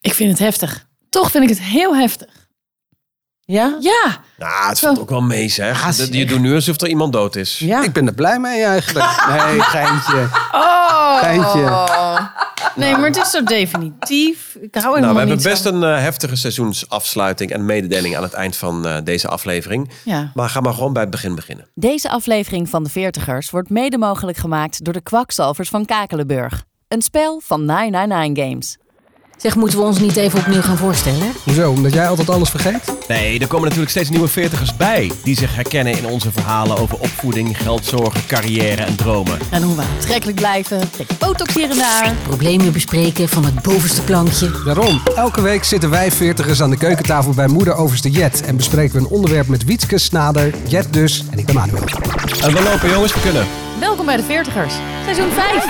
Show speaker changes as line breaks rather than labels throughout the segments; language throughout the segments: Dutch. Ik vind het heftig. Toch vind ik het heel heftig.
Ja?
Ja,
Nou, het valt ook wel mee, zeg.
Ja,
Dat- Je
zeg.
doet nu alsof er iemand dood is.
Ja.
Ik ben er blij mee eigenlijk. Nee, geintje.
Oh.
Geintje.
Nee, maar het is zo definitief. Ik hou helemaal
Nou, we hebben
niet
best
van-
een eh, heftige seizoensafsluiting en mededeling aan het eind van eh, deze aflevering.
Ja.
Maar ga maar gewoon bij het begin beginnen.
Deze aflevering van de Veertigers wordt mede mogelijk gemaakt door de kwakzalvers van Kakelenburg. Een spel van 999 Games.
Zeg, moeten we ons niet even opnieuw gaan voorstellen?
Hoezo? Omdat jij altijd alles vergeet?
Nee, er komen natuurlijk steeds nieuwe veertigers bij. Die zich herkennen in onze verhalen over opvoeding, geldzorgen, carrière en dromen.
En hoe waar?
Trekkelijk blijven, een beetje botox hier en daar.
Problemen bespreken van het bovenste plankje.
Daarom. Elke week zitten wij veertigers aan de keukentafel bij moeder overste Jet. En bespreken we een onderwerp met Wietske Snader, Jet dus en ik ben Manuel.
En we lopen jongens, we kunnen.
Welkom bij de Veertigers, seizoen 5.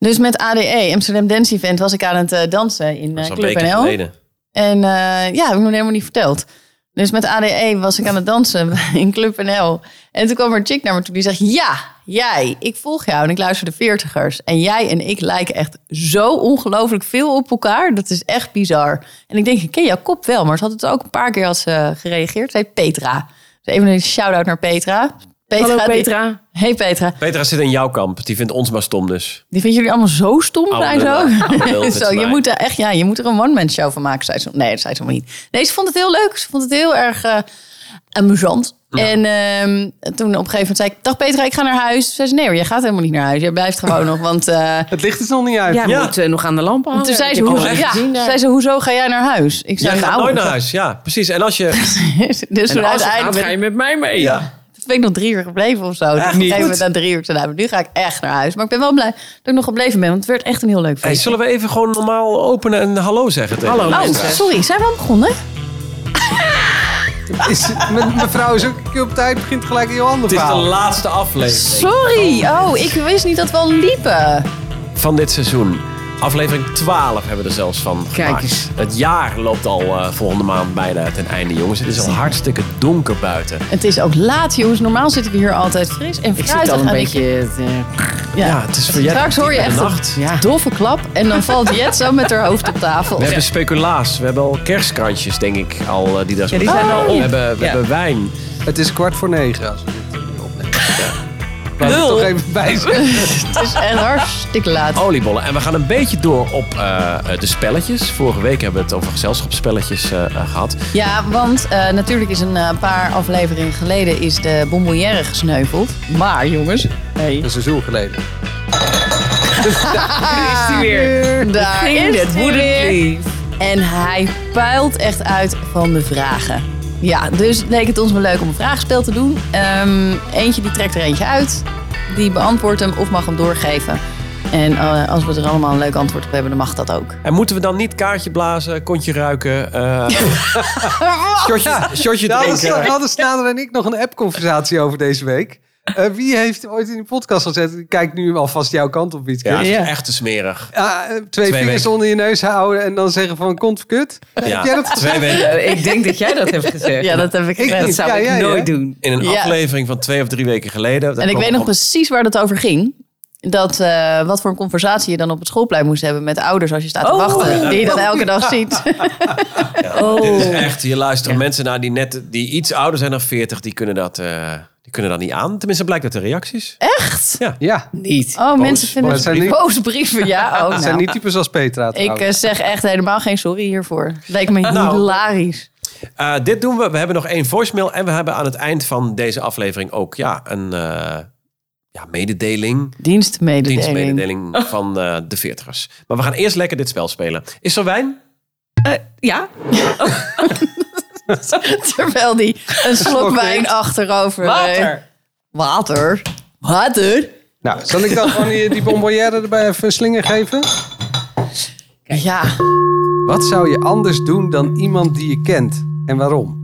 Dus met ADE, Amsterdam Dance Event, was ik aan het eh, dansen in
Dat
eh
is al
Club
weken
NL.
geleden.
En eh, ja, heb ik nog helemaal niet verteld. Dus met ADE was ik aan het dansen in Club NL. En toen kwam er een chick naar me toe die zegt... Ja, jij, ik volg jou en ik luister de veertigers. En jij en ik lijken echt zo ongelooflijk veel op elkaar. Dat is echt bizar. En ik denk, ik ken jouw kop wel. Maar ze had het ook een paar keer als ze gereageerd. Ze heet Petra. Dus even een shout-out naar Petra. Petra
Hallo
die-
Petra.
hey Petra.
Petra zit in jouw kamp. Die vindt ons maar stom dus.
Die vinden jullie allemaal zo stom
Oude
zijn zo.
lul, oude lul,
zo
dit is
je
mij.
moet er echt, ja, je moet er een one-man show van maken. Zei ze. Nee, dat zei ze helemaal niet. Nee, ze vond het heel leuk. Ze vond het heel erg eh, amusant. En ehm, toen op een gegeven moment zei ik, dag Petra, ik ga naar huis. Toen zei ze, nee hoor, jij gaat helemaal niet naar huis. Jij blijft gewoon nog, want... eh,
Het licht is nog niet uit.
Ja, we
Ja.
moeten eh, nog aan de lamp hangen.
toen zei
Oh, Ik
ze,
heb
hoezo,
al
ja,
gezien daar.
zei ze, hoezo ga jij naar huis? Ik zei,
Jij gaat
nou,
nooit naar huis. Ja, precies. En als je...
dus
En
toen
als het gaat,
uiteindelijk
ga je met mij mee.
Ja.
Toen ben ik nog drie uur gebleven of zo. Toen op een
niet
gegeven moment
goed.
na drie uur, ik zei, nou, nu ga ik echt naar huis. Maar ik ben wel blij dat ik nog gebleven ben, want het werd echt een heel leuk
Hey,
feest.
zullen we even gewoon normaal openen en hallo zeggen tegen
Hallo,
de
Oh,
mensen?
sorry, zijn we al begonnen?
Is, mijn, mijn vrouw is ook een keer op tijd, begint gelijk heel ander
Het is de
verhaal.
laatste aflevering
Sorry. Oh, ik wist niet dat we al liepen.
van dit seizoen. Aflevering 12 hebben we er zelfs van
Kijk
gemaakt.
eens.
Het jaar loopt al eh, volgende maand bijna ten einde, jongens. Het is al hartstikke donker buiten.
Het is ook laat, jongens. Normaal zitten we hier altijd fris en
Ik zit
fruitig.
al een
en ik-
beetje... eh,
Ja.
Ja, het is voor jij
Straks hoor je
de
echt
nacht.
een
Ja.
doffe klap en dan valt Jet zo met haar hoofd op tafel.
We hebben speculaas, we hebben al kerstkrantjes, denk ik, al eh, die daar zo
Ja, die zijn al om.
We hebben, we
Ja.
hebben wijn.
Het is kwart voor negen als we dit eh, opnemen. Ja. Laat het toch even bij zijn.
Het is echt hartstikke laat.
oliebollen. En we gaan een beetje door op eh, de spelletjes. Vorige week hebben we het over gezelschapsspelletjes eh, eh, gehad.
Ja, want eh, natuurlijk is een eh, paar afleveringen geleden is de bonbonnière gesneuveld. Maar jongens, hey.
Een seizoen geleden.
is die weer.
daar
Ging
is
dit,
hij
would it
weer.
please?
En hij puilt echt uit van de vragen. Ja, dus leek het ons wel leuk om een vraagspel te doen. Ehm, eentje die trekt er eentje uit. Die beantwoordt hem of mag hem doorgeven. En eh, als we er allemaal een leuk antwoord op hebben, dan mag dat ook.
En moeten we dan niet kaartje blazen, kontje ruiken, eh shotje, shotje
Daar hadden,
drinken?
daar hadden Snader en ik nog een app-conversatie over deze week. Eh, wie heeft ooit in de podcast gezet? Ik kijk nu alvast jouw kant op, Wietke.
Ja,
Ja.
het is
Ja.
echt te smerig.
twee,
weken.
vingers onder je neus houden en dan zeggen van kont voor kut.
Ja.
Heb jij dat gezegd?
Twee weken.
Eh, Ik denk dat jij dat hebt gezegd.
Ja, dat heb ik
Ik-
gered.
Dat zou
Ja,
ik
jij, hè?
nooit doen.
In een
Ja.
aflevering van twee of drie weken geleden. daar
En ik
kwam
weet nog
op-
precies waar dat over ging. Dat, eh, wat voor een conversatie je dan op het schoolplein moest hebben met ouders als je staat te
Oh.
wachten. Die je dat elke dag ziet.
Dit
Dus
is echt, je luistert mensen naar die net, die iets ouder zijn dan 40, die kunnen dat, eh, die kunnen dat niet aan. Tenminste, blijkt uit de reacties.
Echt?
Ja,
Niet.
Oh, mensen vinden
boze
het
brieven.
boze brieven. Ja, oh,
dat zijn
nou.
niet types als Petra
Ik
trouwens.
eh, zeg echt helemaal geen sorry hiervoor. Lijkt me
Nou.
hilarisch.
Eh, dit doen we. We hebben nog één voicemail. En we hebben aan het eind van deze aflevering ook ja, een eh, ja, mededeling.
Dienstmededeling.
Dienstmededeling
Oh.
van eh, de veertigers. Maar we gaan eerst lekker dit spel spelen. Is er wijn?
Ja?
Terwijl die een slok wijn achterover... eh,
Water.
Water. Water?
Nou, zal ik dan gewoon die, die bonbonnière erbij even een slinger geven?
Ja.
Wat zou je anders doen dan iemand die je kent? En waarom?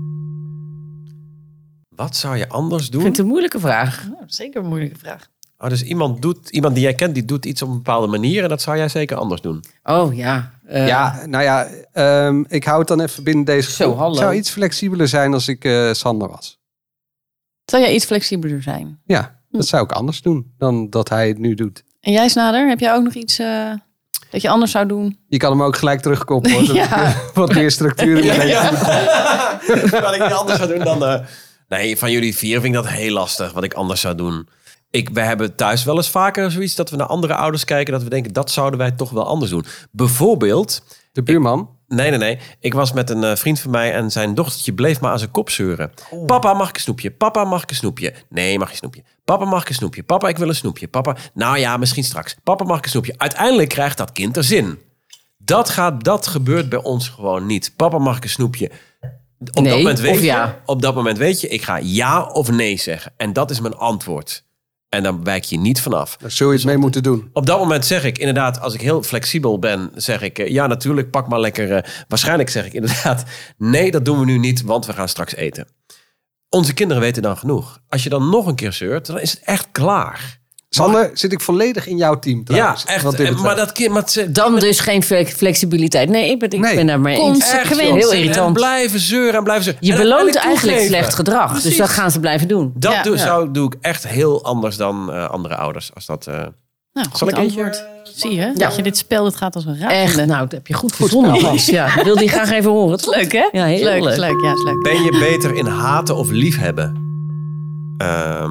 Wat zou je anders
Ik
doen?
vind het een moeilijke vraag.
Zeker een moeilijke vraag.
Oh, dus iemand, doet, iemand die jij kent, die doet iets op een bepaalde manier. En dat zou jij zeker anders doen.
Oh ja. Eh,
ja, nou ja, ehm, ik hou het dan even binnen deze
Zo,
groep.
hallo.
Ik zou iets flexibeler zijn als ik eh, Sander was.
Zou jij iets flexibeler zijn?
Ja, dat zou ik anders doen dan dat hij het nu doet.
En jij, Snader, heb jij ook nog iets... eh, Dat je anders zou doen.
Je kan hem ook gelijk terugkoppelen. hoor.
Ja.
Wat meer structuur in mijn leven.
Wat ik niet anders zou doen dan... eh, Nee, van jullie vier vind ik dat heel lastig, wat ik anders zou doen. Ik, we hebben thuis wel eens vaker zoiets dat we naar andere ouders kijken... dat we denken, dat zouden wij toch wel anders doen. Bijvoorbeeld,
De buurman.
Nee, nee, nee. Ik was met een eh, vriend van mij en zijn dochtertje bleef maar aan zijn kop zeuren.
Oh.
Papa, mag ik een snoepje? Papa, mag ik een snoepje? Nee, mag je snoepje. Papa, mag ik een snoepje? Papa, ik wil een snoepje. Papa, nou ja, misschien straks. Papa, mag ik een snoepje? Uiteindelijk krijgt dat kind er zin. Dat, gaat, dat gebeurt bij ons gewoon niet. Papa, mag ik een snoepje? Op,
Nee,
dat moment weet
of
je,
ja.
op dat moment weet je, ik ga ja of nee zeggen. En dat is mijn antwoord. En dan wijk je niet vanaf.
Daar zul je het mee moeten doen.
Op dat moment zeg ik inderdaad, als ik heel flexibel ben, zeg ik eh, ja, natuurlijk, pak maar lekker. eh, waarschijnlijk zeg ik inderdaad, nee, dat doen we nu niet, want we gaan straks eten. Onze kinderen weten dan genoeg. Als je dan nog een keer zeurt, dan is het echt klaar.
Sander, zit ik volledig in jouw team
Ja,
trouwens.
echt.
Wat dit
En- Maar
betreft.
dat kind, maar ze,
Dan dus geen fle- flexibiliteit. Nee, ik ben, ik
Nee.
ben daar maar eens.
echt, joh.
Heel
En
irritant.
blijven zeuren en blijven zeuren.
Je
En
beloont
uiteindelijk
eigenlijk
toegeven.
slecht gedrag. Dus
Precies.
dat gaan ze blijven doen.
Dat
Ja.
doe,
Ja.
Zou, doe ik echt heel anders dan eh, andere ouders. Als dat, eh,
Nou, goed
Zal ik eentje,
antwoord. Zie je, dat je dit spel, dat gaat als een raad.
Echt, nou, dat heb je goed verzonnen, Hans. Ja, ik wil die graag even horen. Het
Leuk, hè?
Ja, heel
leuk.
leuk.
is leuk. Ja, is leuk.
ben je beter in haten of liefhebben? Ehm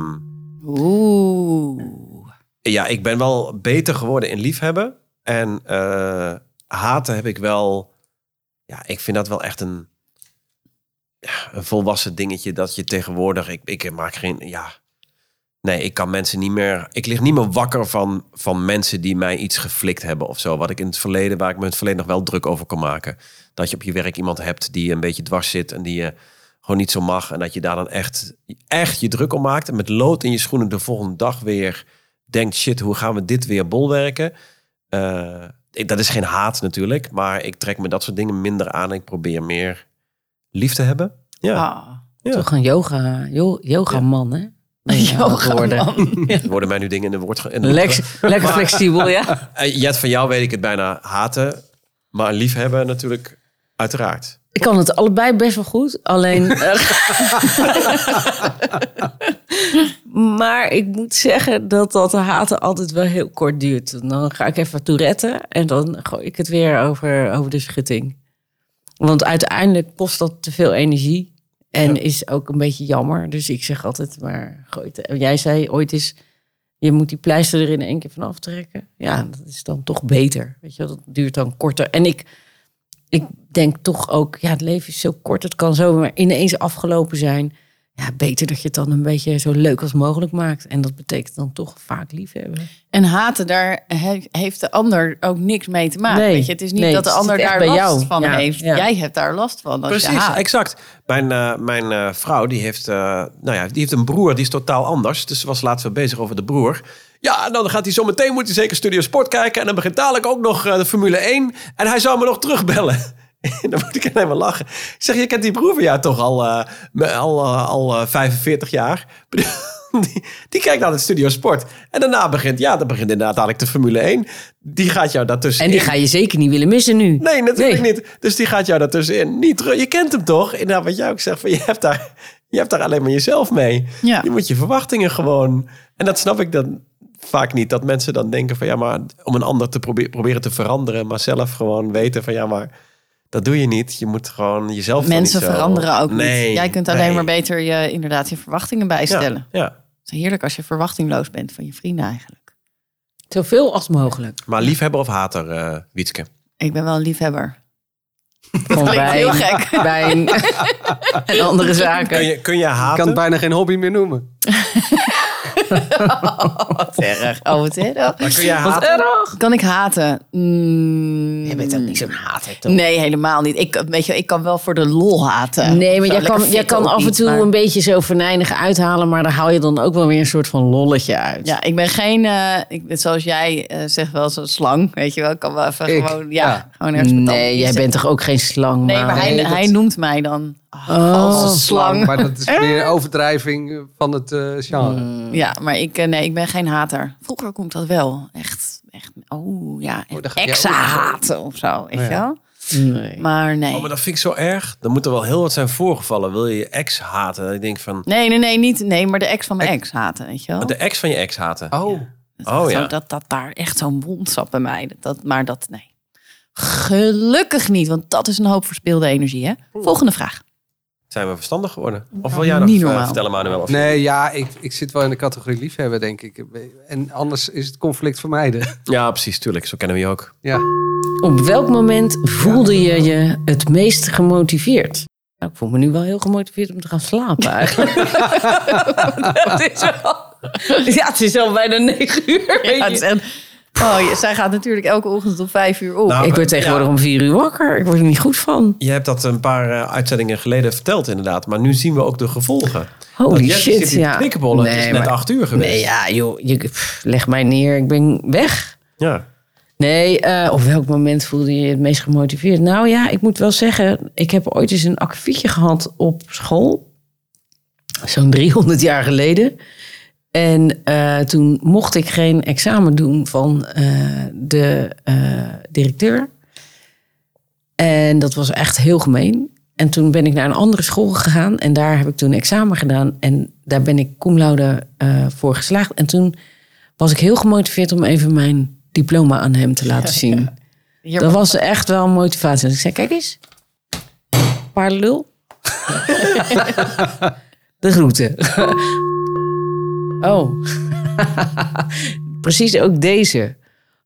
Oeh.
Ja, ik ben wel beter geworden in liefhebben. En eh, haten heb ik wel. Ja, ik vind dat wel echt een, ja, een volwassen dingetje. Dat je tegenwoordig. Ik, ik maak geen. Ja. Nee, ik kan mensen niet meer. Ik lig niet meer wakker van, van mensen die mij iets geflikt hebben of zo. Wat ik in het verleden, waar ik me in het verleden nog wel druk over kon maken. Dat je op je werk iemand hebt die een beetje dwars zit en die je gewoon niet zo mag. En dat je daar dan echt, echt je druk om maakt. En met lood in je schoenen de volgende dag weer denkt: shit, hoe gaan we dit weer bolwerken? Eh, ik- dat is geen haat natuurlijk, maar ik trek me dat soort dingen minder aan. Ik probeer meer lief te hebben. Ja,
Ah.
is Toch een yoga, yo, yoga man, hè?
Yoga man.
er worden mij nu dingen in de woord. ge- In de woord ge-
Lekker, lekker flexibel, ja.
Eh, Jet, van jou weet ik het bijna haten, maar liefhebben natuurlijk uiteraard.
Ik kan het allebei best wel goed. Alleen. eh, maar ik moet zeggen dat dat haten altijd wel heel kort duurt. Dan ga ik even toeretten en dan gooi ik het weer over, over de schutting. Want uiteindelijk kost dat te veel energie. En is ook een beetje jammer. Dus ik zeg altijd maar gooi het. En Jij zei ooit eens, je moet die pleister er in één keer van aftrekken. Ja, dat is dan toch beter. Weet je, wel, dat duurt dan korter. En ik, ik denk toch ook, ja, het leven is zo kort. Het kan zomaar ineens afgelopen zijn. Ja, beter dat je het dan een beetje zo leuk als mogelijk maakt. En dat betekent dan toch vaak liefhebben.
En haten, daar he- heeft de ander ook niks mee te maken.
Nee.
Weet je? Het is niet
Nee,
dat de
het zit
ander
echt
daar
bij
last
jou.
van
Ja,
heeft.
ja.
Jij hebt daar last van. Als Je
Precies,
haat.
exact. Mijn, eh, mijn eh, vrouw die heeft, eh, nou ja, die heeft een broer, die is totaal anders. Dus ze was laatst wel bezig over de broer. Ja, en dan gaat hij zometeen, moet hij zeker Studio Sport kijken. En dan begint dadelijk ook nog eh, de Formule 1. En hij zou me nog terugbellen. En dan moet ik alleen maar lachen. Ik zeg, je kent die broer van jou toch al, eh, me- al, eh, al eh, 45 jaar? Die, die kijkt naar het Studio Sport. En daarna begint, ja, dan begint inderdaad dadelijk de Formule 1. Die gaat jou daartussen
En die ga je zeker niet willen missen nu.
Nee, natuurlijk niet. Dus die gaat jou daartussenin niet terug. Je kent hem toch? Inderdaad, wat jij ook zegt. Van, je, hebt daar, je hebt daar alleen maar jezelf mee.
Ja.
Je moet je verwachtingen gewoon... En dat snap ik dan vaak niet. Dat mensen dan denken van... Ja, maar om een ander te probe- proberen te veranderen. Maar zelf gewoon weten van... Ja, maar dat doe je niet. Je moet gewoon jezelf dan
Mensen
niet zo-
veranderen ook
Nee,
niet. Jij kunt alleen
nee.
maar beter je, inderdaad je verwachtingen bijstellen.
Ja, ja.
Het is heerlijk als je verwachtingloos bent van je vrienden eigenlijk.
Zoveel als mogelijk.
Maar liefhebber of hater, eh Wietske?
Ik ben wel een liefhebber.
Van
Klinkt heel gek.
wijn en andere
Kun
zaken.
je, kun je
Ik kan
haten?
het bijna geen hobby meer noemen.
Oh, wat is dat?
Maar kun je haten?
Kan ik haten? Mm,
Je bent ook niet zo'n hater, toch?
Nee, helemaal niet. Ik, weet je, ik kan wel voor de lol haten.
Nee, maar
Zo
jij
lekker
kan, jij
fikken
kan
op
af en
iets,
toe
maar-
een beetje zo venijnig uithalen... maar daar haal je dan ook wel weer een soort van lolletje uit.
Ja, ik ben geen, eh, ik, ben zoals jij eh, zegt wel, zo'n slang. Weet je wel, ik kan wel even
Ik?
gewoon, ja,
Ja.
gewoon ergens met tanden
Nee, jij
kiezen.
bent toch ook geen slang?
Nee, maar hij,
Maren?
hij noemt mij dan
Oh.
als een slang.
Maar dat is meer overdrijving van het eh, genre.
Ja, maar ik, eh, nee, ik ben geen hater. Vroeger kon ik dat wel. Echt, echt oh ja,
Oh,
echt
dan ga jij
exa
ook nog zo.
haten of zo, weet je wel.
Nee.
Maar nee.
Oh, maar dat vind ik zo erg. Dan moet er wel heel wat zijn voorgevallen. Wil je je ex haten? Dat ik denk van...
Oh.
Nee, nee, nee, niet. Nee, maar de ex van mijn ex haten, weet je wel.
De ex van je ex haten.
Oh,
Oh
Zo
ja.
dat dat daar echt zo'n wond zat bij mij. Dat, dat, maar dat, nee. Gelukkig niet, want dat is een hoop verspilde energie. Hè? Volgende vraag.
Zijn we verstandig geworden?
Oh.
Of wil jij nog
Niet
eh,
normaal.
vertellen, Manuel? Of...
Nee, ja, ik, ik zit wel in de categorie liefhebber, denk ik. En anders is het conflict vermijden.
Ja, precies, tuurlijk. Zo kennen we je ook.
Ja.
Op welk moment voelde je je het meest gemotiveerd? Nou, ik voel me nu wel heel gemotiveerd om te gaan slapen eigenlijk. Dat is wel- Ja, het is al bijna negen uur.
Ja, het is echt- oh, je- zij gaat natuurlijk elke ochtend om vijf uur op.
Nou,
ik word tegenwoordig om vier uur wakker. Ik word er niet goed van.
Je hebt dat een paar eh, uitzendingen geleden verteld, inderdaad. Maar nu zien we ook de gevolgen.
Holy
Oh,
Dat Jesse
shit,
zit hier te
ja.
knikkenbollen. het
Nee,
is net
maar-
acht uur geweest.
Nee, ja, joh. Je, pff, leg mij neer. Ik ben weg.
Ja.
Nee, eh, op welk moment voelde je je het meest gemotiveerd? Nou ja, ik moet wel zeggen, ik heb ooit eens een akkefietje gehad op school. Zo'n 300 jaar geleden. En eh, toen mocht ik geen examen doen van eh, de eh, directeur. En dat was echt heel gemeen. En toen ben ik naar een andere school gegaan en daar heb ik toen examen gedaan. En daar ben ik cum laude eh, voor geslaagd. En toen was ik heel gemotiveerd om even mijn diploma aan hem te laten zien.
Hier-
Dat was echt wel een motivatie. Dus ik zei, kijk eens, paardenlul. De groeten. Oh, precies ook deze.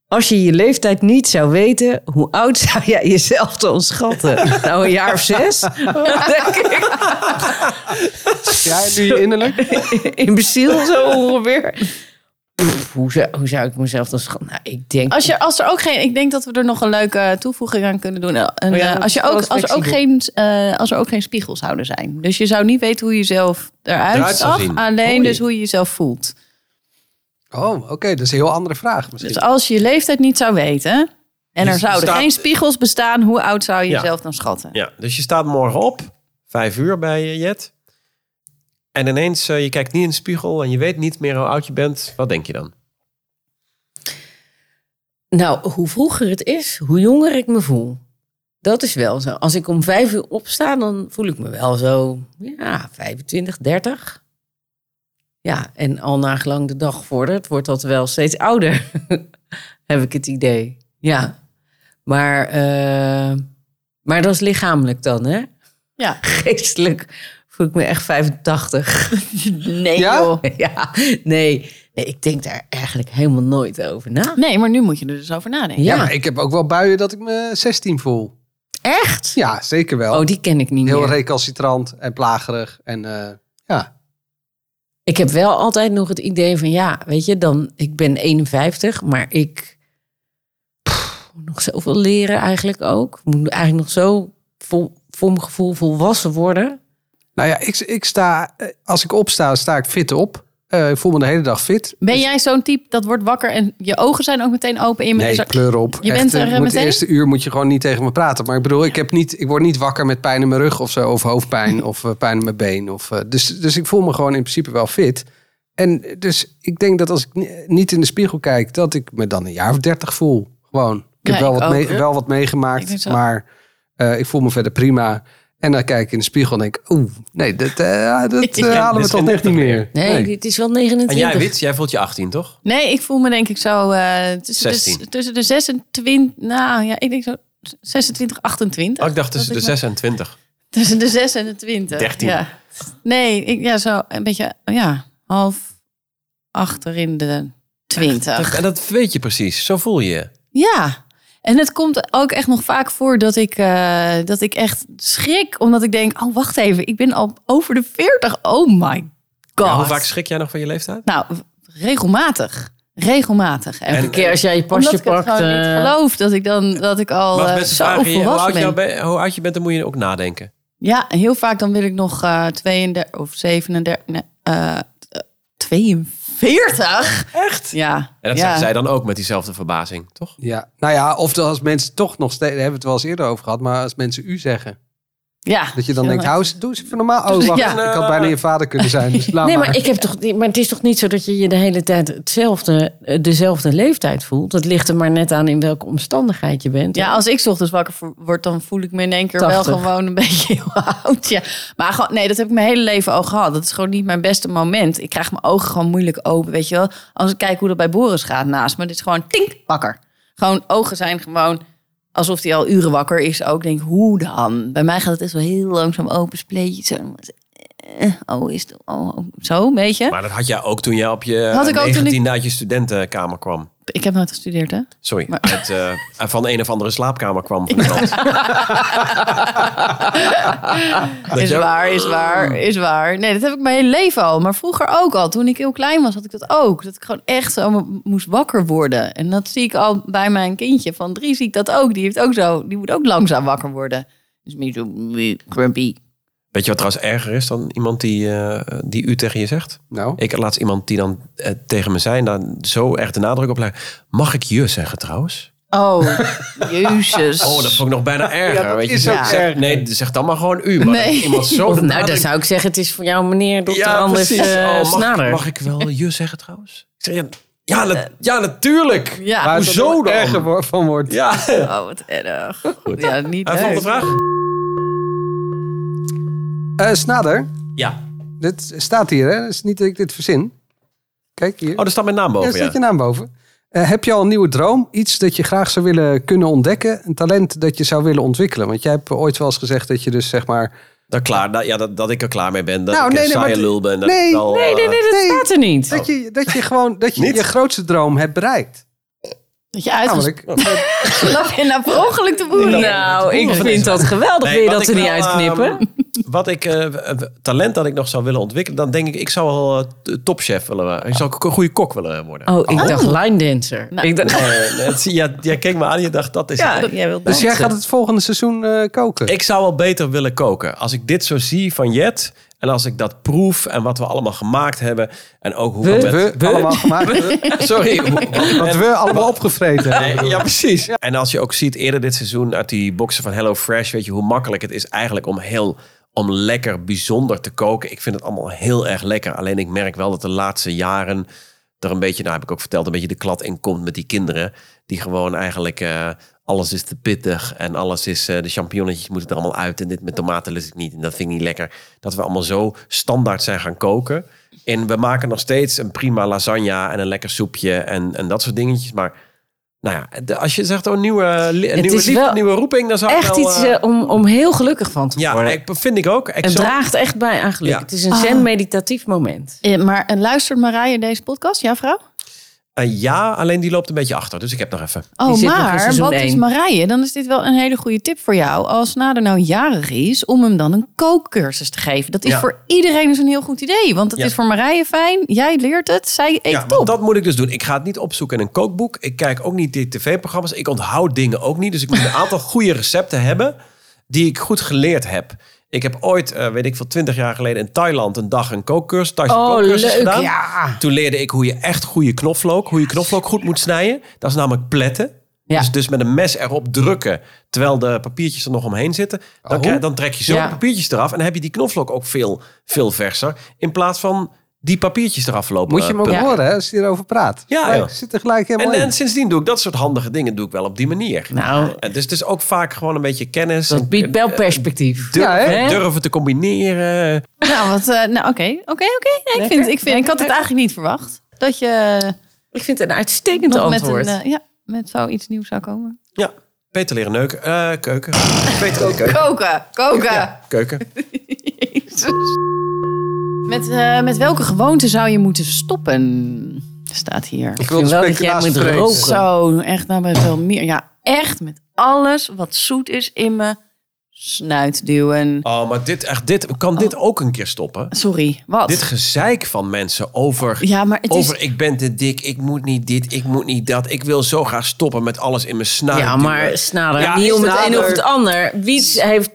Als je je leeftijd niet zou weten, hoe oud zou jij jezelf dan schatten? Nou, een jaar of zes? Denk ik.
Ja, en nu innerlijk?
Imbeciel zo ongeveer. Pff, hoe, zou, hoe zou ik mezelf dan schatten? Nou, ik denk...
Als, je, als er ook geen, ik denk dat we er nog een leuke toevoeging aan kunnen doen. Een,
Oh ja,
eh,
dat
als, je
is wel
ook, als, er ook geen, eh, als er ook geen spiegels zouden zijn. Dus je zou niet weten hoe je jezelf eruit
Eruit zou
zag.
zien.
Alleen
Oei.
dus hoe je jezelf voelt.
Oh, oké. Dat is een heel andere vraag misschien.
Dus als je je leeftijd niet zou weten. En
Je
er zouden
staat-
geen spiegels bestaan. Hoe oud zou je
Ja.
jezelf dan schatten?
ja. Dus je staat morgen op, vijf uur bij eh, Jet. En ineens, eh, je kijkt niet in de spiegel en je weet niet meer hoe oud je bent. Wat denk je dan?
Nou, hoe vroeger het is, hoe jonger ik me voel. Dat is wel zo. Als ik om vijf uur opsta, dan voel ik me wel zo, ja, 25, 30. Ja, en al nagelang de dag vordert, wordt dat wel steeds ouder, heb ik het idee. Ja, maar, eh, maar dat is lichamelijk dan, hè?
Ja.
Geestelijk voel ik me echt 85.
Nee
Ja?
joh.
ja, nee. nee, ik denk daar eigenlijk helemaal nooit over na.
Nee, maar nu moet je er dus over nadenken.
Ja,
Ja,
maar ik heb ook wel buien dat ik me 16 voel.
echt?
Ja, zeker wel.
Oh, die ken ik niet
heel
meer.
recalcitrant en plagerig. En eh, ja,
Ik heb wel altijd nog het idee van ja, weet je, dan ik ben 51, maar ik pff, moet nog zoveel leren eigenlijk ook. Ik Moet eigenlijk nog zo vol, voor mijn gevoel volwassen worden.
nou ja, ik, ik sta, eh, als ik opsta, sta ik fit op. Eh, ik voel me de hele dag fit.
Ben jij zo'n type dat wordt wakker en je ogen zijn ook meteen open? In
Nee,
is dus er-
kleur op.
Je bent
eh,
er, eh,
moet
meteen?
De eerste uur moet je gewoon niet tegen me praten. Maar ik bedoel, ik, heb niet, ik word niet wakker met pijn in mijn rug of zo. Of hoofdpijn of eh, pijn in mijn been. Of, eh, dus, dus ik voel me gewoon in principe wel fit. En eh, dus ik denk dat als ik ni- niet in de spiegel kijk, dat ik me dan een jaar of dertig voel. Gewoon. Ik heb
Ja,
wel,
ik
wat
ook.
mee- wel wat
Ik
meegemaakt,
denk zo.
maar eh, ik voel me verder prima. En dan kijk ik in de spiegel en denk oeh, nee, dat, eh, dat eh,
Ja,
halen
dit
we
is
toch
geen
echt niet meer.
Nee,
Nee.
het is wel
En
29.
jij, Wits, jij voelt je 18, toch?
Nee, ik voel me denk ik zo eh, tussen, de,
16.
tussen de 26, nou ja, ik denk zo 26, 28.
Oh, ik dacht tussen
Dat
de
ik
6 en 20.
me- Tussen de 6 en de 20.
13.
Ja. Nee, ik, ja, zo een beetje, ja, half achter in de 20.
En dat weet je precies. Zo voel je je.
Ja. En het komt ook echt nog vaak voor dat ik, eh, dat ik echt schrik. Omdat ik denk, oh wacht even, ik ben al over de 40. Oh my god.
Ja, hoe vaak schrik jij nog van je leeftijd?
Nou, regelmatig. Regelmatig. En,
Elke keer als jij je
omdat
pasje
ik het
pakt.
gewoon niet
eh,
geloof dat ik dan dat ik al
Maar
eh,
als mensen
zo
vragen je hoe
volwassen
oud, je
ben.
nou bent- hoe oud je bent, dan moet je ook nadenken.
Ja, en heel vaak dan wil ik nog eh 32 of 37. Nee, eh, eh, 42?
Echt?
Ja.
En dat
ja.
zeggen zij dan ook met diezelfde verbazing, toch?
Ja, nou ja, of dat als mensen toch nog steeds, daar hebben we het wel eens eerder over gehad, maar als mensen u zeggen.
Ja.
Dat je dan denkt, hou eens, doe eens even normaal. Oh, wacht,
Ja.
ik had bijna je vader kunnen zijn. Dus laat
nee, maar,
maar.
ik heb toch, niet- maar het is toch niet zo dat je je de hele tijd hetzelfde, eh, dezelfde leeftijd voelt? Dat ligt er maar net aan in welke omstandigheid je bent.
Ja, als ik 's ochtends wakker vo- word, dan voel ik me in één keer wel
80.
gewoon een beetje heel oud. Ja. Maar gewoon, nee, dat heb ik mijn hele leven al gehad. Dat is gewoon niet mijn beste moment. Ik krijg mijn ogen gewoon moeilijk open, weet je wel. Als ik kijk hoe dat bij Boris gaat naast me, dit is gewoon tink, wakker. Gewoon ogen zijn gewoon alsof hij al uren wakker is. Ook Ik denk, hoe dan? Bij mij gaat het echt wel heel langzaam open, spleetje. Zo. Eh, Oh, is het oh, oh, zo, een beetje.
Maar dat had jij ook toen jij op je
Had ik ook toen ik-
19 uit je studentenkamer kwam.
Ik heb nooit gestudeerd, hè?
Sorry,
Maar-
uit, eh, van een of andere slaapkamer kwam. Van iemand.
is waar, is waar, is waar. Nee, dat heb ik mijn hele leven al. Maar vroeger ook al. Toen ik heel klein was, had ik dat ook. Dat ik gewoon echt zo mo- moest wakker worden. En dat zie ik al bij mijn kindje van drie. Zie ik dat ook. Die, heeft ook zo, die moet ook langzaam wakker worden. Dus niet zo grumpy.
Weet je wat trouwens erger is dan iemand die, eh, die u tegen je zegt?
Nou,
Ik had laatst iemand die dan eh, tegen me zei, en daar zo erg de nadruk op legde. Mag ik je zeggen trouwens?
Oh, jezus.
Oh, dat vond ik nog bijna erger.
dat
weet je.
is
Zeg-
ook
zeg- Nee, zeg dan maar gewoon u. Maar
Nee.
Oh, dat iemand zo
Of,
de
nou, dan
nadruk-
zou ik zeggen, het is voor jou meneer dokter Anders
precies.
eh,
Oh, mag,
Snader. Eh,
Mag ik wel je zeggen trouwens? Ik zeg, ja, ja, na- ja, natuurlijk.
Ja,
waar het
hoezo
er
dan?
erger wo- van wordt.
Ja.
oh, wat erg. Ja, niet
En volgende
leuk.
vraag?
Eh, Snader,
Ja.
dit staat hier, hè? Het is niet dat ik dit verzin. Kijk hier.
Oh, er staat mijn naam
ja,
boven, ja.
staat je naam boven. Eh, heb je al een nieuwe droom? Iets dat je graag zou willen kunnen ontdekken? Een talent dat je zou willen ontwikkelen? Want jij hebt ooit wel eens gezegd dat je dus zeg maar...
Dat, klaar, dat, ja, dat, dat ik er klaar mee ben. Dat
Nou,
ik
nee,
een
nee,
saaie
maar-
lul ben. Dat
nee,
ik wel,
Nee, nee,
eh,
nee, dat
Nee.
staat er niet.
Dat je, dat je gewoon dat je,
Niet?
je grootste droom hebt bereikt.
Dat je uitgeslapen
Namelijk,
en nou per ongeluk te boeren.
Nou, ik vind dat geweldig.
Nee,
Wil je
wat
dat
ik
er niet
wel, ehm,
uitknippen?
wat ik, eh, eh, talent dat ik nog zou willen ontwikkelen, dan denk ik, ik zou wel eh, topchef willen worden. Ik zou ook een goede kok willen worden.
Oh, ik dacht line dancer.
Nou.
Ik dacht,
Eh, het- ja, jij keek me aan en je dacht, dat is het.
Jij wilt
dus jij gaat het volgende seizoen eh, koken.
Ik zou wel beter willen koken. Als ik dit zo zie van Jet. En als ik dat proef en wat we allemaal gemaakt hebben. En ook hoe we, met-
we, allemaal gemaakt.
Sorry. hoe-
Wat we allemaal opgevreten hebben.
Nee, ja, precies. En als je ook ziet eerder dit seizoen uit die boxen van Hello Fresh, weet je hoe makkelijk het is eigenlijk om heel om lekker bijzonder te koken. Ik vind het allemaal heel erg lekker. Alleen ik merk wel dat de laatste jaren er een beetje, nou heb ik ook verteld, een beetje de klad in komt met die kinderen. Die gewoon eigenlijk eh, alles is te pittig en alles is, eh, de champignonnetjes moeten er allemaal uit en dit met tomaten lust ik niet en dat vind ik niet lekker. Dat we allemaal zo standaard zijn gaan koken. En we maken nog steeds een prima lasagne en een lekker soepje en, en dat soort dingetjes. Maar nou ja, de- als je zegt, oh, nieuwe, li- nieuwe
is
liefde,
wel
nieuwe roeping, dan zou ik
echt
wel,
iets
eh,
eh, om, om heel gelukkig van te
ja,
worden.
ik, vind ik ook. Ik
het
zou-
draagt echt bij aan geluk.
Ja.
Het is een
Ah.
zen-meditatief moment.
Eh, Maar en luistert Marije deze podcast, jouw vrouw?
eh, ja, alleen die loopt een beetje achter, dus ik heb nog even.
Die
Oh,
zit nog in
maar
seizoen
wat
één.
is Marije? Dan is dit wel een hele goede tip voor jou. Als Nader nou jarig is, om hem dan een kookcursus te geven. Dat is
Ja.
voor iedereen dus een heel goed idee. Want dat
Ja.
is voor Marije fijn. Jij leert het. Zij eet
Ja,
top.
want dat moet ik dus doen. Ik ga het niet opzoeken in een kookboek. Ik kijk ook niet die tv-programma's. Ik onthoud dingen ook niet. Dus ik moet een aantal goede recepten hebben die ik goed geleerd heb. Ik heb ooit, eh, weet ik veel, twintig jaar geleden in Thailand een dag een kookcursus, Thaise
Oh,
kookcursus
leuk,
gedaan.
ja.
Toen leerde ik hoe je echt goede knoflook, hoe je knoflook goed moet snijden. Dat is namelijk pletten.
Ja.
Dus, dus met een mes erop drukken, terwijl de papiertjes er nog omheen zitten. Dan,
Oh.
krijg- dan trek je zo
Ja.
de papiertjes eraf en dan heb je die knoflook ook veel, veel verser. In plaats van die papiertjes eraf lopen.
Moet je hem
eh,
ook
Ja.
horen hè, als je hierover praat.
Ja,
Maar
ja.
Ik zit er gelijk helemaal
en,
in.
en sindsdien doe ik dat soort handige dingen doe ik wel op die manier.
Nou,
En dus het is ook vaak gewoon een beetje kennis.
dat biedt wel perspectief.
Ja, hè?
Hè?
Durven te combineren.
Nou, wat, eh, nou, oké. Oké, oké. Nee, Ik, vind, ik, vind, ik had het eigenlijk niet verwacht. Dat je
Ik vind het een uitstekend
nog met,
antwoord.
een, eh, ja, met zoiets nieuws zou komen.
Ja, beter leren neuken. Eh, keuken. Beter leren keuken.
Koken, koken.
Ja, keuken.
Met, eh, met welke gewoonte zou je moeten stoppen? Staat hier.
Ik
vind wel dat jij
naast
moet
vrezen.
roken.
Zo, echt nou met wel meer. Ja, echt met alles wat zoet is in me snuit duwen.
Oh, maar dit, echt, dit, kan dit ook een keer stoppen?
Sorry, wat?
Dit gezeik van mensen over...
ja, maar het
Over e-
is...
ik ben te dik, ik moet niet dit, ik moet niet dat. Ik wil zo graag stoppen met alles in mijn snaar.
Ja, maar snader.
Ja,
niet om het
snader.
een of het ander. Wie heeft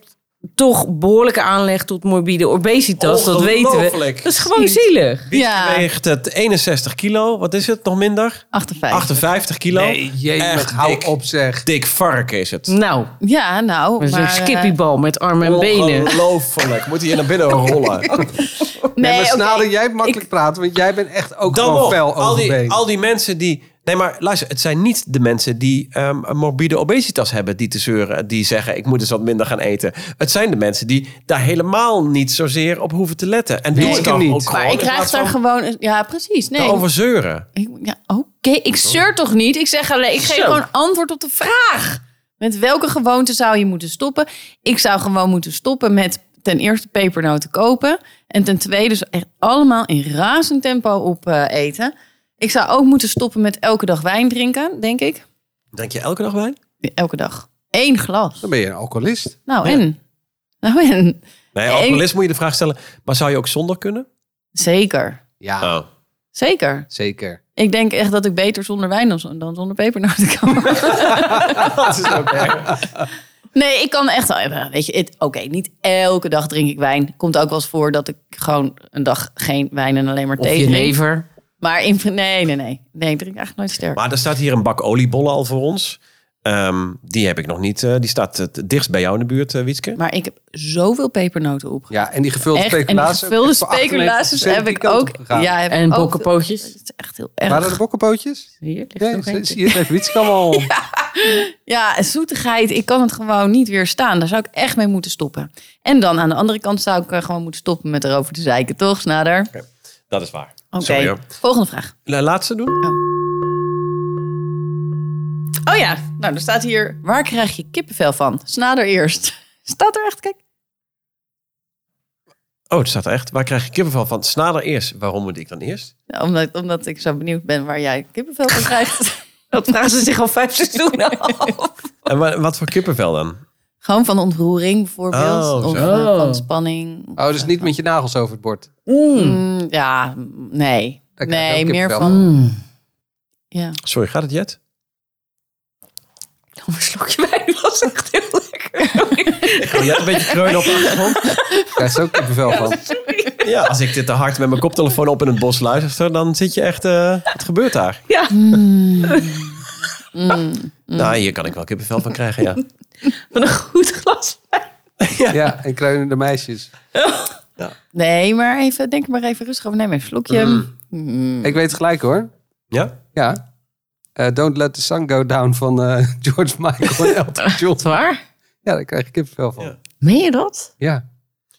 toch behoorlijke aanleg tot morbide obesitas. Dat weten we.
Ongelooflijk.
Dat is gewoon zielig.
Wie
Ja.
weegt het 61 kilo? Wat is het? Nog minder?
58.
58 kilo.
Nee,
Echt
jemig, hou
dik.
op zeg.
Dik varken is het.
Nou,
Ja, nou.
dat is een
Maar, eh,
skippiebal met armen en benen.
Ongelooflijk. Moet hij hier naar binnen rollen.
Nee, maar
oké.
Snader, jij hebt makkelijk praten, want jij bent echt ook
Dan
gewoon
nog.
fel
Al
overbeen.
die, al die mensen die... Nee, maar luister. Het zijn niet de mensen die ehm, een morbide obesitas hebben. Die te zeuren. Die zeggen, ik moet eens wat minder gaan eten. Het zijn de mensen die daar helemaal niet zozeer op hoeven te letten. En doe
Nee,
het
ik
dan
niet.
ook gewoon.
Maar ik
in
krijg
plaats
daar
van
gewoon. eh, Ja, precies. Nee.
daarover zeuren.
Ik, ja, oké. Ik zeur toch niet? Ik zeg alleen, ik geef
Zo.
gewoon antwoord op de vraag. Met welke gewoonte zou je moeten stoppen? Ik zou gewoon moeten stoppen met ten eerste pepernoten kopen. En ten tweede dus echt allemaal in razend tempo op eh, eten. Ik zou ook moeten stoppen met elke dag wijn drinken, denk ik.
Denk je elke dag wijn?
Elke dag. Eén glas.
Dan ben je een alcoholist.
Nou,
Ja.
en? Nou, en?
Nee,
Nee.
alcoholist moet je de vraag stellen. Maar zou je ook zonder kunnen?
Zeker.
Ja,
Oh.
Zeker.
zeker.
Ik denk echt dat ik beter zonder wijn dan, zon- dan zonder pepernoten kan.
Dat is ook erg.
Nee, ik kan echt wel. eh, Weet je, het- oké, niet elke dag drink ik wijn. Komt ook wel eens voor dat ik gewoon een dag geen wijn en alleen maar
Of
thee
je
drink.
lever.
Maar in, nee, nee, nee. Nee, ik drink eigenlijk nooit sterk.
Maar er staat hier een bak oliebollen al voor ons. Ehm, die heb ik nog niet. eh, die staat het dichtst bij jou in de buurt, eh, Wietske.
Maar ik heb zoveel pepernoten op.
Ja, en die gevulde
Echt, en die
speculaas.
gevulde speculaties heb ik ook. Ja, heb ik
En
ook-
bokkenpootjes.
Dat is echt heel
Waren de
erg.
bokkenpootjes?
Hier ligt
Nee,
nog
zie-
eentje.
zie je het even iets kan wel.
Ja, zoetigheid. Ik kan het gewoon niet weerstaan. Daar zou ik echt mee moeten stoppen. En dan aan de andere kant zou ik eh, gewoon moeten stoppen met erover te zeiken. Toch, Snader?
Dat is waar.
Oké,
Sorry, hoor.
volgende vraag.
La- Laatste doen.
Oh ja, nou, er staat hier... Waar krijg je kippenvel van? Snader eerst. Staat er echt, kijk.
Oh, het staat er echt. Waar krijg je kippenvel van? Snader eerst. Waarom moet ik dan eerst?
Ja, Nou, Omdat, omdat ik zo benieuwd ben waar jij kippenvel van krijgt.
Dat vragen ze zich al vijf seizoenen af.
En wa- wat voor kippenvel dan?
Gewoon van ontroering bijvoorbeeld.
Oh,
of
zo.
eh, van spanning.
Oh, dus niet met je nagels over het bord.
Mm, ja, m- nee.
Daar krijg je
Nee,
ook
meer
kippenvel
van... Ja.
Sorry, gaat het Jet?
Een slokje wijn was echt heel lekker.
Kan jij een beetje kreunen op de achtergrond?
Daar is ook kippenvel van.
Ja, als ik dit te hard met mijn koptelefoon op in het bos luister, dan zit je echt... eh, wat gebeurt daar?
Ja.
Nou, hier kan ik wel kippenvel van krijgen, ja.
Van een goed glas wijn.
Ja, en kreunende meisjes.
Nee, maar even, denk er maar even rustig over. Neem even een slokje. Mm.
Ik weet het gelijk hoor.
Ja?
Ja. Eh, Don't Let the Sun Go Down van eh, George Michael en Elton John.
Waar?
Ja, daar krijg je kippenvel van.
Ja.
Ja.
Meen je dat?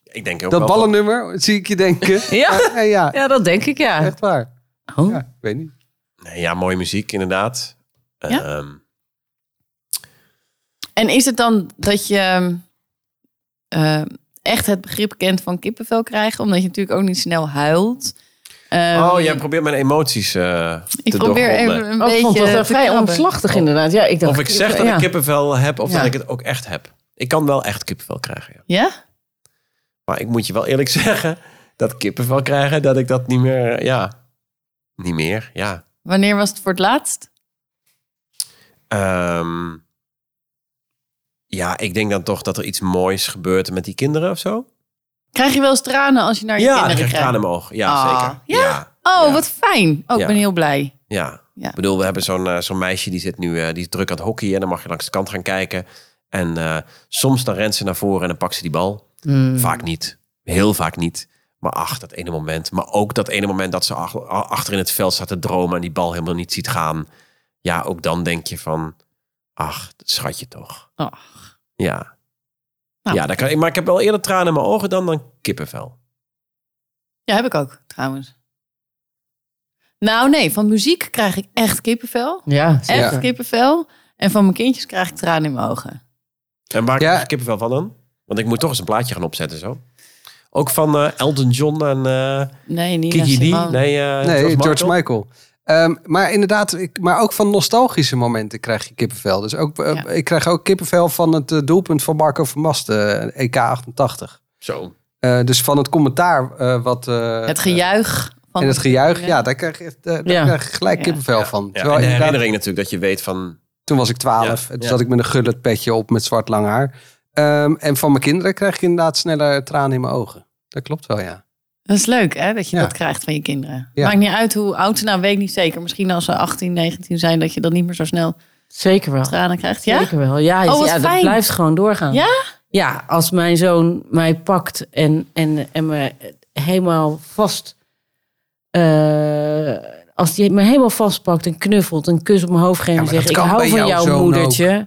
Ik denk ook
Dat
wel
ballennummer zie ik je denken.
Ja.
Eh, eh, ja,
Ja, dat denk ik ja.
echt waar.
Oh.
Ja, ik weet niet.
Nee, ja, mooie muziek, inderdaad.
Ja?
Ehm,
En is het dan dat je eh, echt het begrip kent van kippenvel krijgen? Omdat je natuurlijk ook niet snel huilt. Ehm,
oh, jij probeert mijn emoties eh,
Ik
te
probeer
doorgronden.
even een
Oh, ik
beetje
vond dat wel
te
vrij
krabben.
omslachtig inderdaad. Ja, ik dacht,
Of ik zeg dat
ja.
ik kippenvel heb, of
Ja.
dat ik het ook echt heb. Ik kan wel echt kippenvel krijgen, ja.
Ja?
Maar ik moet je wel eerlijk zeggen, dat kippenvel krijgen, dat ik dat niet meer, ja, niet meer, ja.
Wanneer was het voor het laatst?
Ehm, ja, ik denk dan toch dat er iets moois gebeurt met die kinderen of zo.
Krijg je wel eens tranen als je naar je
ja, dan
kinderen
krijg ik
kijkt?
tranen in mijn ogen. Ja,
Ah,
zeker.
ja?
ja.
Oh,
Ja.
wat fijn. Oh, ik
Ja.
ben heel blij.
Ja.
Ja.
Ik bedoel, we hebben zo'n eh, zo'n meisje die zit nu eh, die is druk aan het hockey en dan mag je langs de kant gaan kijken. En eh, soms dan rent ze naar voren en dan pakt ze die bal.
Mm.
Vaak niet. Heel vaak niet. Maar ach, dat ene moment. Maar ook dat ene moment dat ze ach- achter in het veld staat te dromen en die bal helemaal niet ziet gaan. Ja, ook dan denk je van, ach, dat schatje toch.
Ach.
Ja.
Nou.
Ja, dat kan, ik- maar ik heb wel eerder tranen in mijn ogen dan, dan kippenvel.
Ja, heb ik ook, trouwens. Nou nee, van muziek krijg ik echt kippenvel.
Ja,
Echt
Ja.
kippenvel. En van mijn kindjes krijg ik tranen in mijn ogen.
En waar
Ja.
krijg ik kippenvel van dan? Want ik moet toch eens een plaatje gaan opzetten zo. Ook van eh, Elton John en... eh,
Nee, niet
Kiki D. Nee, eh,
Nee, George,
Michael.
Michael. Ehm, maar inderdaad, ik, maar ook van nostalgische momenten krijg je kippenvel. Dus ook, eh,
Ja.
ik krijg ook kippenvel van het eh, doelpunt van Marco van Basten, eh, EK 88.
Zo.
Eh, dus van het commentaar eh, wat... eh,
Het gejuich. Van
en het gejuich, ja, daar krijg je, echt, eh, daar
Ja.
krijg je gelijk
Ja.
kippenvel
Ja.
van.
Ja,
Terwijl
en de
inderdaad-
herinnering natuurlijk dat je weet van...
Toen was ik twaalf.
Ja,
en toen
ja.
zat ik met een gullet petje op met zwart lang haar. Ehm, en van mijn kinderen krijg ik inderdaad sneller tranen in mijn ogen. Dat klopt wel, ja.
Dat is leuk, hè? Dat je
Ja.
dat krijgt van je kinderen.
Ja.
Maakt niet uit hoe oud ze nou, weet ik niet zeker. Misschien als ze 18, 19 zijn, dat je dat niet meer zo snel
Zeker wel.
tranen krijgt. Ja?
Zeker wel. Ja,
Oh, wat
ja dat
fijn.
blijft gewoon doorgaan.
Ja?
Ja, als mijn zoon mij pakt en, en, en me helemaal vast... eh, als hij me helemaal vastpakt en knuffelt, een kus op mijn hoofd geeft
Ja,
en
maar
zegt...
dat
Ik
kan
hou
bij
van
jouw
jouw
zoon
moedertje.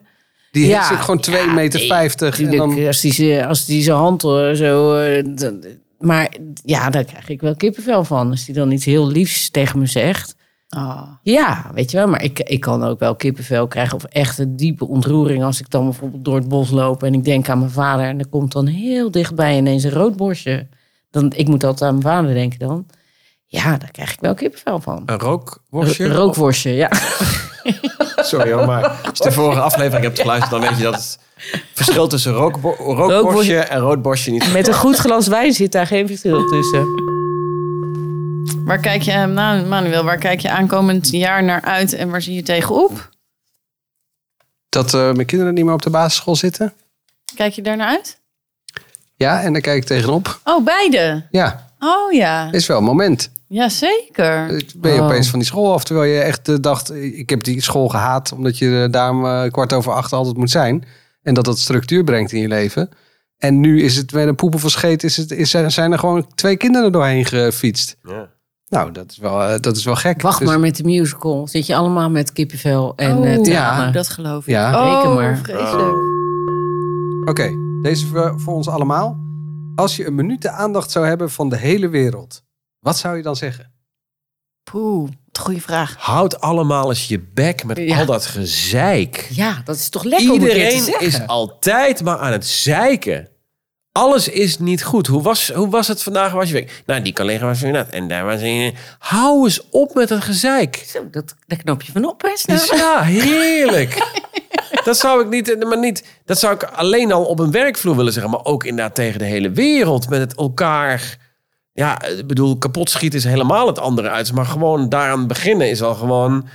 Die
Ja.
zit gewoon 2,50
Ja,
meter.
nee,
vijftig en
Tuurlijk,
dan,
als, die, eh, ze- als die zijn hand eh, zo... eh, dan- maar ja, daar krijg ik wel kippenvel van. Als die dan iets heel liefs tegen me zegt... Ah.
Oh.
Ja, weet je wel. Maar ik, ik kan ook wel kippenvel krijgen of echt een diepe ontroering als ik dan bijvoorbeeld door het bos loop en ik denk aan mijn vader en er komt dan heel dichtbij ineens een rood borstje. Dan, ik moet altijd aan mijn vader denken dan. Ja, daar krijg ik wel kippenvel van.
Een
Een
rookworstje?
rookworstje, ja.
Sorry hoor, maar als je de vorige aflevering hebt geluisterd... dan weet je dat het verschil tussen rookbo- rookworstje
Rookworstje.
en roodborstje niet...
Met een goed glas wijn zit daar geen verschil tussen.
Waar kijk je, eh, nou Manuel, waar kijk je aankomend jaar naar uit en waar zie je tegenop?
dat eh, mijn kinderen niet meer op de basisschool zitten.
Kijk je daar naar uit?
Ja, en daar kijk ik tegenop.
Oh, beide.
Ja,
Oh ja,
is wel een moment.
jazeker.
Eh, Ben je
Oh.
opeens van die school af. Terwijl je echt eh, dacht, eh, ik heb die school gehaat. Omdat je eh, daar om, eh, kwart over acht altijd moet zijn. En dat dat structuur brengt in je leven. En nu is het met een poepel van scheet. Is het, is, zijn er gewoon twee kinderen doorheen gefietst.
Ja.
Nou, dat is wel, eh, dat is wel gek.
Wacht
Dus-
maar met de musical. Zit je allemaal met kippenvel en
Oh,
eh, tranen.
ja.
Dat geloof ik.
Ja.
Reken
oh,
maar.
vreselijk.
Oké, deze voor, voor ons allemaal. Als je een minuut de aandacht zou hebben van de hele wereld. Wat zou je dan zeggen?
Poeh, wat een goede vraag.
Houd allemaal eens je bek met
Ja.
al dat gezeik.
Ja, dat is toch lekker om een keer te
Iedereen
zeggen.
is altijd maar aan het zeiken. Alles is niet goed. Hoe was, hoe was het vandaag? Hoe Was je week? Nou, die collega was weer dat. En daar was een... Hou eens op met het gezeik.
Zo, dat, daar knop je van op, hè? snel.
Dus ja, heerlijk. Dat zou ik niet, maar niet, dat zou ik alleen al op een werkvloer willen zeggen, maar ook inderdaad tegen de hele wereld met het elkaar. Ja, ik bedoel, kapot schieten is helemaal het andere uit, maar gewoon daaraan beginnen is al gewoon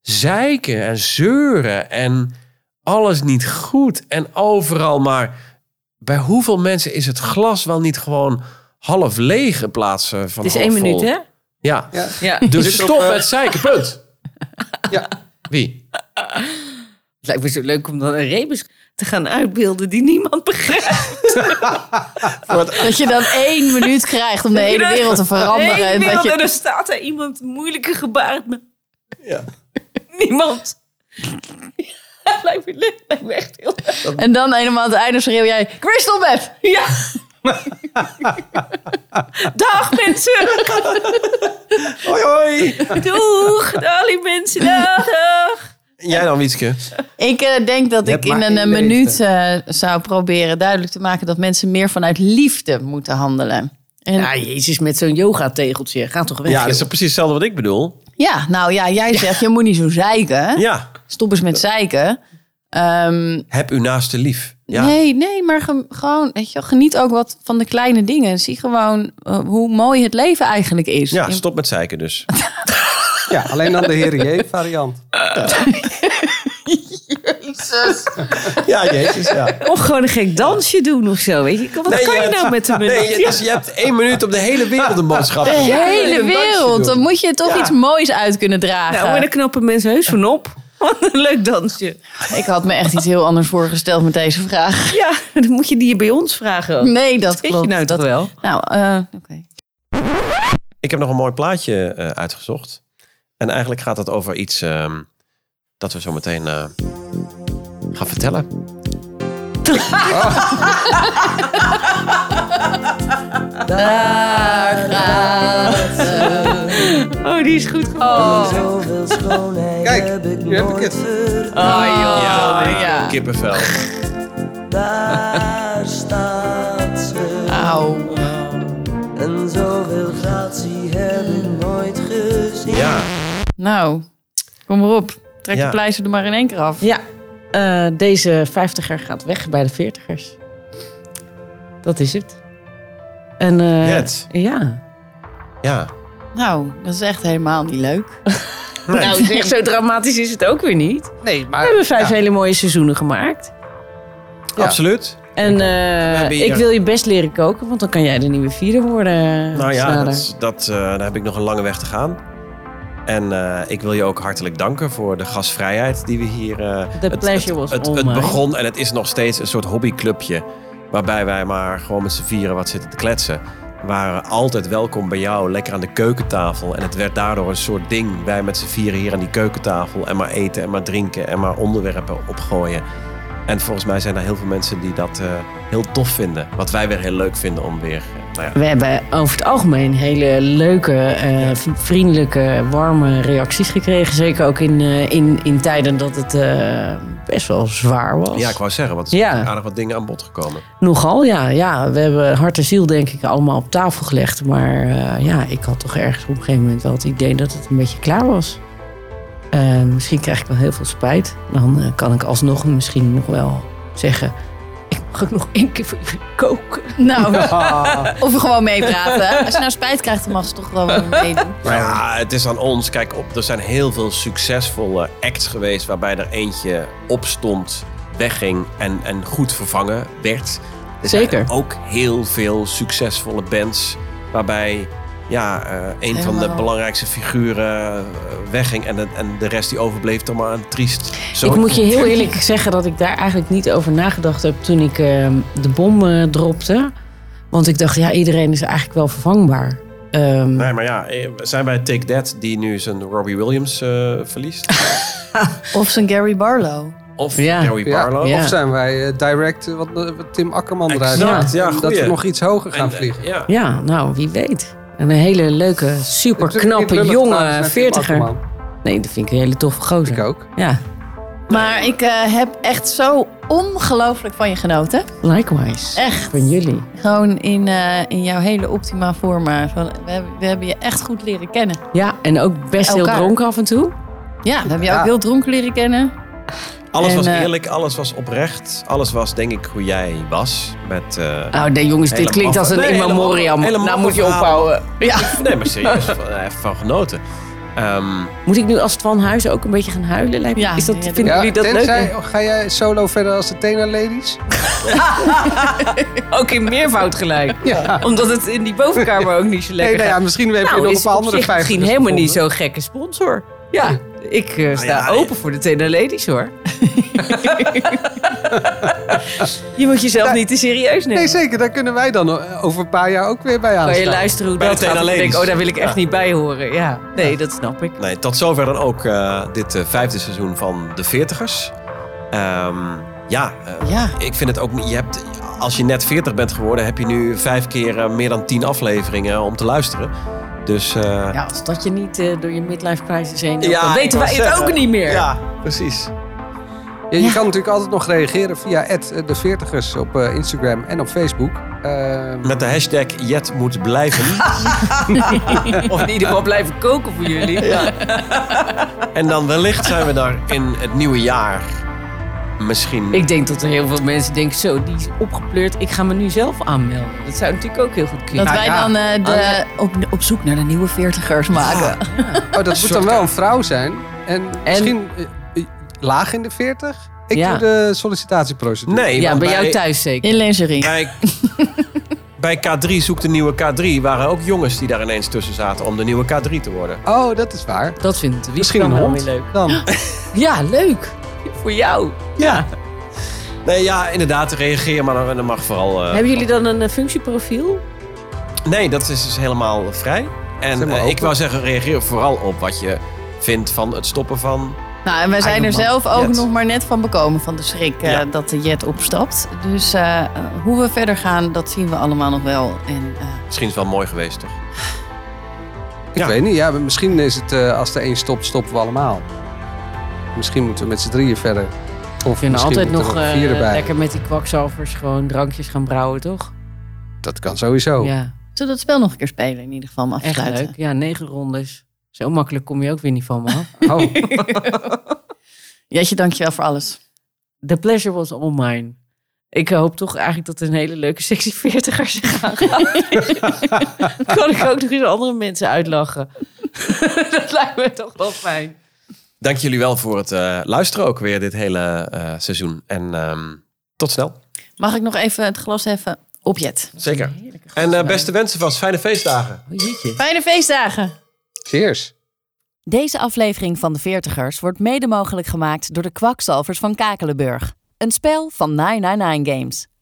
zeiken en zeuren en alles niet goed en overal maar. Bij hoeveel mensen is het glas wel niet gewoon half leeg in plaats eh, van
Het is
half
één
vol?
minuut, hè?
Ja.
Ja.
Dus stop met zeiken, punt.
Ja.
Wie?
Het lijkt me zo leuk om dan een rebus te gaan uitbeelden die niemand begrijpt.
Dat je dan één minuut krijgt om de hele wereld te veranderen. en dat je...
er staat er iemand moeilijke gebaren. met- Niemand. Het lijkt me leuk. Lijkt me echt heel leuk.
En dan helemaal aan het einde schreeuw jij... Crystal Beth!
Ja. Dag mensen.
Hoi, hoi.
Doeg. Alle mensen. Dag. dag.
Jij dan, Wietske?
Ik eh, denk dat ik
Je hebt
in
maar
een eh,
één leven.
minuut eh, zou proberen duidelijk te maken... dat mensen meer vanuit liefde moeten handelen. En, ja.
Ja, jezus, met zo'n yoga-tegeltje. Ga toch weg.
Ja, dat is
joh.
precies hetzelfde wat ik bedoel.
nou ja, jij zegt je moet niet zo zeiken.
Ja,
Stop eens met zeiken. Ehm,
heb u naaste lief. Ja.
Nee, nee, maar ge- gewoon, weet je, wel, geniet ook wat van de kleine dingen. Zie gewoon eh, hoe mooi het leven eigenlijk is.
ja,
In-
stop met zeiken dus.
Ja, alleen dan de Heer variant.
Ja, jezus, ja.
Of gewoon een gek dansje doen of zo. Weet je. Wat
Nee,
kan je
ja,
nou met een minuut?
Nee, je, dus je hebt één minuut om de hele wereld een boodschap.
De hele
een dansje
wereld. Dan
doen.
moet je toch iets moois uit kunnen dragen.
Nou, maar daar knappen mensen heus van op. Wat een leuk dansje.
Ik had me echt iets heel anders voorgesteld met deze vraag.
Ja, dan moet je die bij ons vragen. ook.
Nee, dat
Weet je
klopt.
nou toch
dat...
wel?
Nou, eh, oké.
Ik heb nog een mooi plaatje eh, uitgezocht. En eigenlijk gaat het over iets ehm, dat we zo meteen eh, gaan vertellen.
Oh, die is goed gevonden.
Kijk, nu heb ik het.
ja, kippenvel.
Daar staat ze.
Auw.
En zoveel gratie heb ik nooit gezien.
Ja,
Nou, kom maar op. Trek
Ja.
de pleister er maar in één keer af.
Ja, eh, deze vijftiger gaat weg bij de veertigers. Dat is het. En eh,
Net.
ja.
ja.
Nou, dat is echt helemaal niet leuk.
Nou, zeg, zo dramatisch is het ook weer niet. We
Nee, maar...
hebben vijf hele mooie seizoenen gemaakt.
Ja.
Absoluut.
En
We
eh,
hebben hier-
ik wil je best leren koken, want dan kan jij de nieuwe vierde worden.
Nou ja,
Snader.
dat, dat, eh, daar heb ik nog een lange weg te gaan. En eh, ik wil je ook hartelijk danken voor de gastvrijheid die we hier... eh
The pleasure was eh,
het,
all
het
mine.
begon en het is nog steeds een soort hobbyclubje... waarbij wij maar gewoon met z'n vieren wat zitten te kletsen. We waren altijd welkom bij jou, lekker aan de keukentafel. En het werd daardoor een soort ding. Wij met z'n vieren hier aan die keukentafel... en maar eten en maar drinken en maar onderwerpen opgooien. En volgens mij zijn er heel veel mensen die dat eh, heel tof vinden. Wat wij weer heel leuk vinden om weer... eh, nou ja,
We hebben over het algemeen hele leuke, eh, v- vriendelijke, warme reacties gekregen. Zeker ook in, eh, in, in tijden dat het eh, best wel zwaar was.
Ja, ik wou zeggen, want er
Ja.
zijn aardig wat dingen aan bod gekomen.
Nogal, ja, ja. We hebben hart en ziel denk ik allemaal op tafel gelegd. Maar eh, ja, ik had toch ergens op een gegeven moment wel het idee dat het een beetje klaar was. Eh, misschien krijg ik wel heel veel spijt. Dan eh, kan ik alsnog misschien nog wel zeggen... Ik mag ook nog één keer voor jullie koken.
Nou,
Ah,
Ah,
of we gewoon meepraten. Als je nou spijt krijgt, dan mag ze toch gewoon meedoen.
Maar ja, het is aan ons. Kijk, op, er zijn heel veel succesvolle acts geweest... waarbij er eentje opstond, wegging en, en goed vervangen werd. Er
Zeker.
zijn ook heel veel succesvolle bands... waarbij ja, eh, een van de
Helemaal.
belangrijkste figuren eh, wegging... en de, en de rest die overbleef dan maar een triest zo.
Ik moet je heel eerlijk zeggen dat ik daar eigenlijk niet over nagedacht heb toen ik eh, de bom eh, dropte. Want ik dacht, ja, iedereen is eigenlijk wel vervangbaar. Ehm,
Nee, maar ja, eh, zijn wij Take That die nu zijn Robbie Williams eh, verliest?
Of zijn Gary Barlow.
Of
Ja.
Gary
Ja,
Barlow?
Ja.
Of zijn wij eh, direct eh, wat, eh, wat Tim Akkerman eruit
Exact,
haalt,
ja,
Dat
goeie.
we nog iets hoger gaan
En, eh,
vliegen.
ja.
Ja, nou, wie weet. En een hele leuke, super knappe, jonge veertiger. Nee, dat vind ik een hele toffe
Ik
gozer.
ook.
Ja,
Maar ik eh, heb echt zo ongelooflijk van je genoten.
likewise.
Echt.
Van jullie.
Gewoon in, eh, in jouw hele optima forma. Van, we, hebben, we hebben je echt goed leren kennen.
Ja, en ook best heel
Elkaar.
dronken af en toe.
Ja, we hebben je
Ja.
ook heel dronken leren kennen.
Alles
En,
was
eh,
eerlijk, alles was oprecht. Alles was denk ik hoe jij was. Met, eh,
Nou, nee, jongens, dit
Hele
klinkt als
maffe-
een
Nee, hele
immemoriam.
maffe- hele
Nou
maffe
moet je
verhalen.
ophouden. Ja.
Nee, maar serieus, van, eh, van genoten. Ehm,
Moet ik nu als Twan Huizen ook een beetje gaan huilen? Lijkt me-
Ja,
is dat,
ja,
vinden
Ja,
jullie dat
tenzij,
leuk?
ga jij solo verder als de Tena Ladies?
Ook in meervoud gelijk.
Ja.
Omdat het in die bovenkamer ook niet zo
Nee,
lekker
nou ja,
gaat.
misschien heb je
Nou,
nog
is
een paar
op
andere
zich
vijf.
misschien helemaal niet zo'n gekke sponsor. Ja, ik eh, sta
Nou ja,
open voor de Tena Ladies hoor. je moet jezelf niet te serieus nemen.
Nee, zeker. Daar kunnen wij dan eh, over een paar jaar ook weer bij
kan je
aanstaan.
luisteren hoe
Bij de
dat gaat
Tena
en denk,
Ladies.
oh daar wil ik echt
Ja.
niet bij horen. Ja, nee, dat snap ik.
nee, tot zover dan ook eh, dit eh, vijfde seizoen van De Veertigers. Ehm, ja, eh,
Ja.
ik vind het ook... niet- Je hebt, als je net veertig bent geworden, heb je nu vijf keer eh, meer dan tien afleveringen om te luisteren. Dus eh, ja,
Ja, als dat je niet eh, door je midlife crisis heen loopt,
Ja,
dan
ik
weten
wou
wij het
zeggen.
ook niet meer.
precies.
Ja, je kan natuurlijk altijd nog reageren via de veertigers op eh, Instagram en op Facebook. Ehm,
Met de hashtag Jet moet blijven.
Of in ieder geval blijven koken voor jullie.
en dan wellicht zijn we daar in het nieuwe jaar misschien...
Ik denk dat er heel veel mensen denken, zo, die is opgepleurd. Ik ga me nu zelf aanmelden. Dat zou natuurlijk ook heel goed kunnen.
Dat wij
ja.
dan eh, de, op, op zoek naar de nieuwe veertigers maken.
Oh, dat moet dan wel een vrouw zijn. En, misschien eh, eh, laag in de 40. Ik
Ja.
doe de sollicitatieprocedure.
Nee,
ja,
want
bij jou thuis zeker.
In lingerie.
Bij, bij K3 zoekt de nieuwe K3 waren ook jongens die daar ineens tussen zaten om de nieuwe K3 te worden.
Oh, dat is waar.
Dat vindt de
Misschien een hond.
leuk.
Dan.
Ja, leuk. Voor jou. Ja.
Nee, ja, inderdaad, reageer maar dan- dan mag vooral. eh,
Hebben jullie dan een eh, functieprofiel?
Nee, dat is dus helemaal vrij. En
Zeg maar
eh, ik
open.
wou zeggen, reageer vooral op wat je vindt van het stoppen van.
Nou, en wij zijn er
Ironman.
zelf ook
Jet.
nog maar net van bekomen van de schrik eh,
Ja.
dat de jet opstapt. Dus eh, hoe we verder gaan, dat zien we allemaal nog wel. En, eh,
Misschien is het wel mooi geweest, toch?
Ik
Ja.
weet niet. Ja, misschien is het eh, als de een stopt, stoppen we allemaal. Misschien moeten we met z'n drieën verder. Of
Ik vind
misschien
altijd
moeten
nog
we er
eh,
vier erbij.
lekker met die kwakzalvers gewoon drankjes gaan brouwen, toch?
Dat kan sowieso.
Ja,
zullen we dat spel nog een keer spelen in ieder geval om af te
echt
sluiten?
leuk. Ja, negen rondes. Zo makkelijk kom je ook weer niet van me af.
Oh,
Jetje, dankjewel voor alles.
The pleasure was all mine. Ik hoop toch eigenlijk dat een hele leuke sexy 40er zich aangaat. kan ik ook nog eens andere mensen uitlachen. dat lijkt me toch wel fijn.
Dank jullie wel voor het eh, luisteren ook weer dit hele eh, seizoen. En ehm, tot snel.
Mag ik nog even het glas heffen op Jet?
Zeker. En eh, beste wensen vast. Fijne feestdagen.
Fijne feestdagen!
Cheers.
Deze aflevering van de Veertigers wordt mede mogelijk gemaakt door de kwakzalvers van Kakelenburg. Een spel van 999 Games.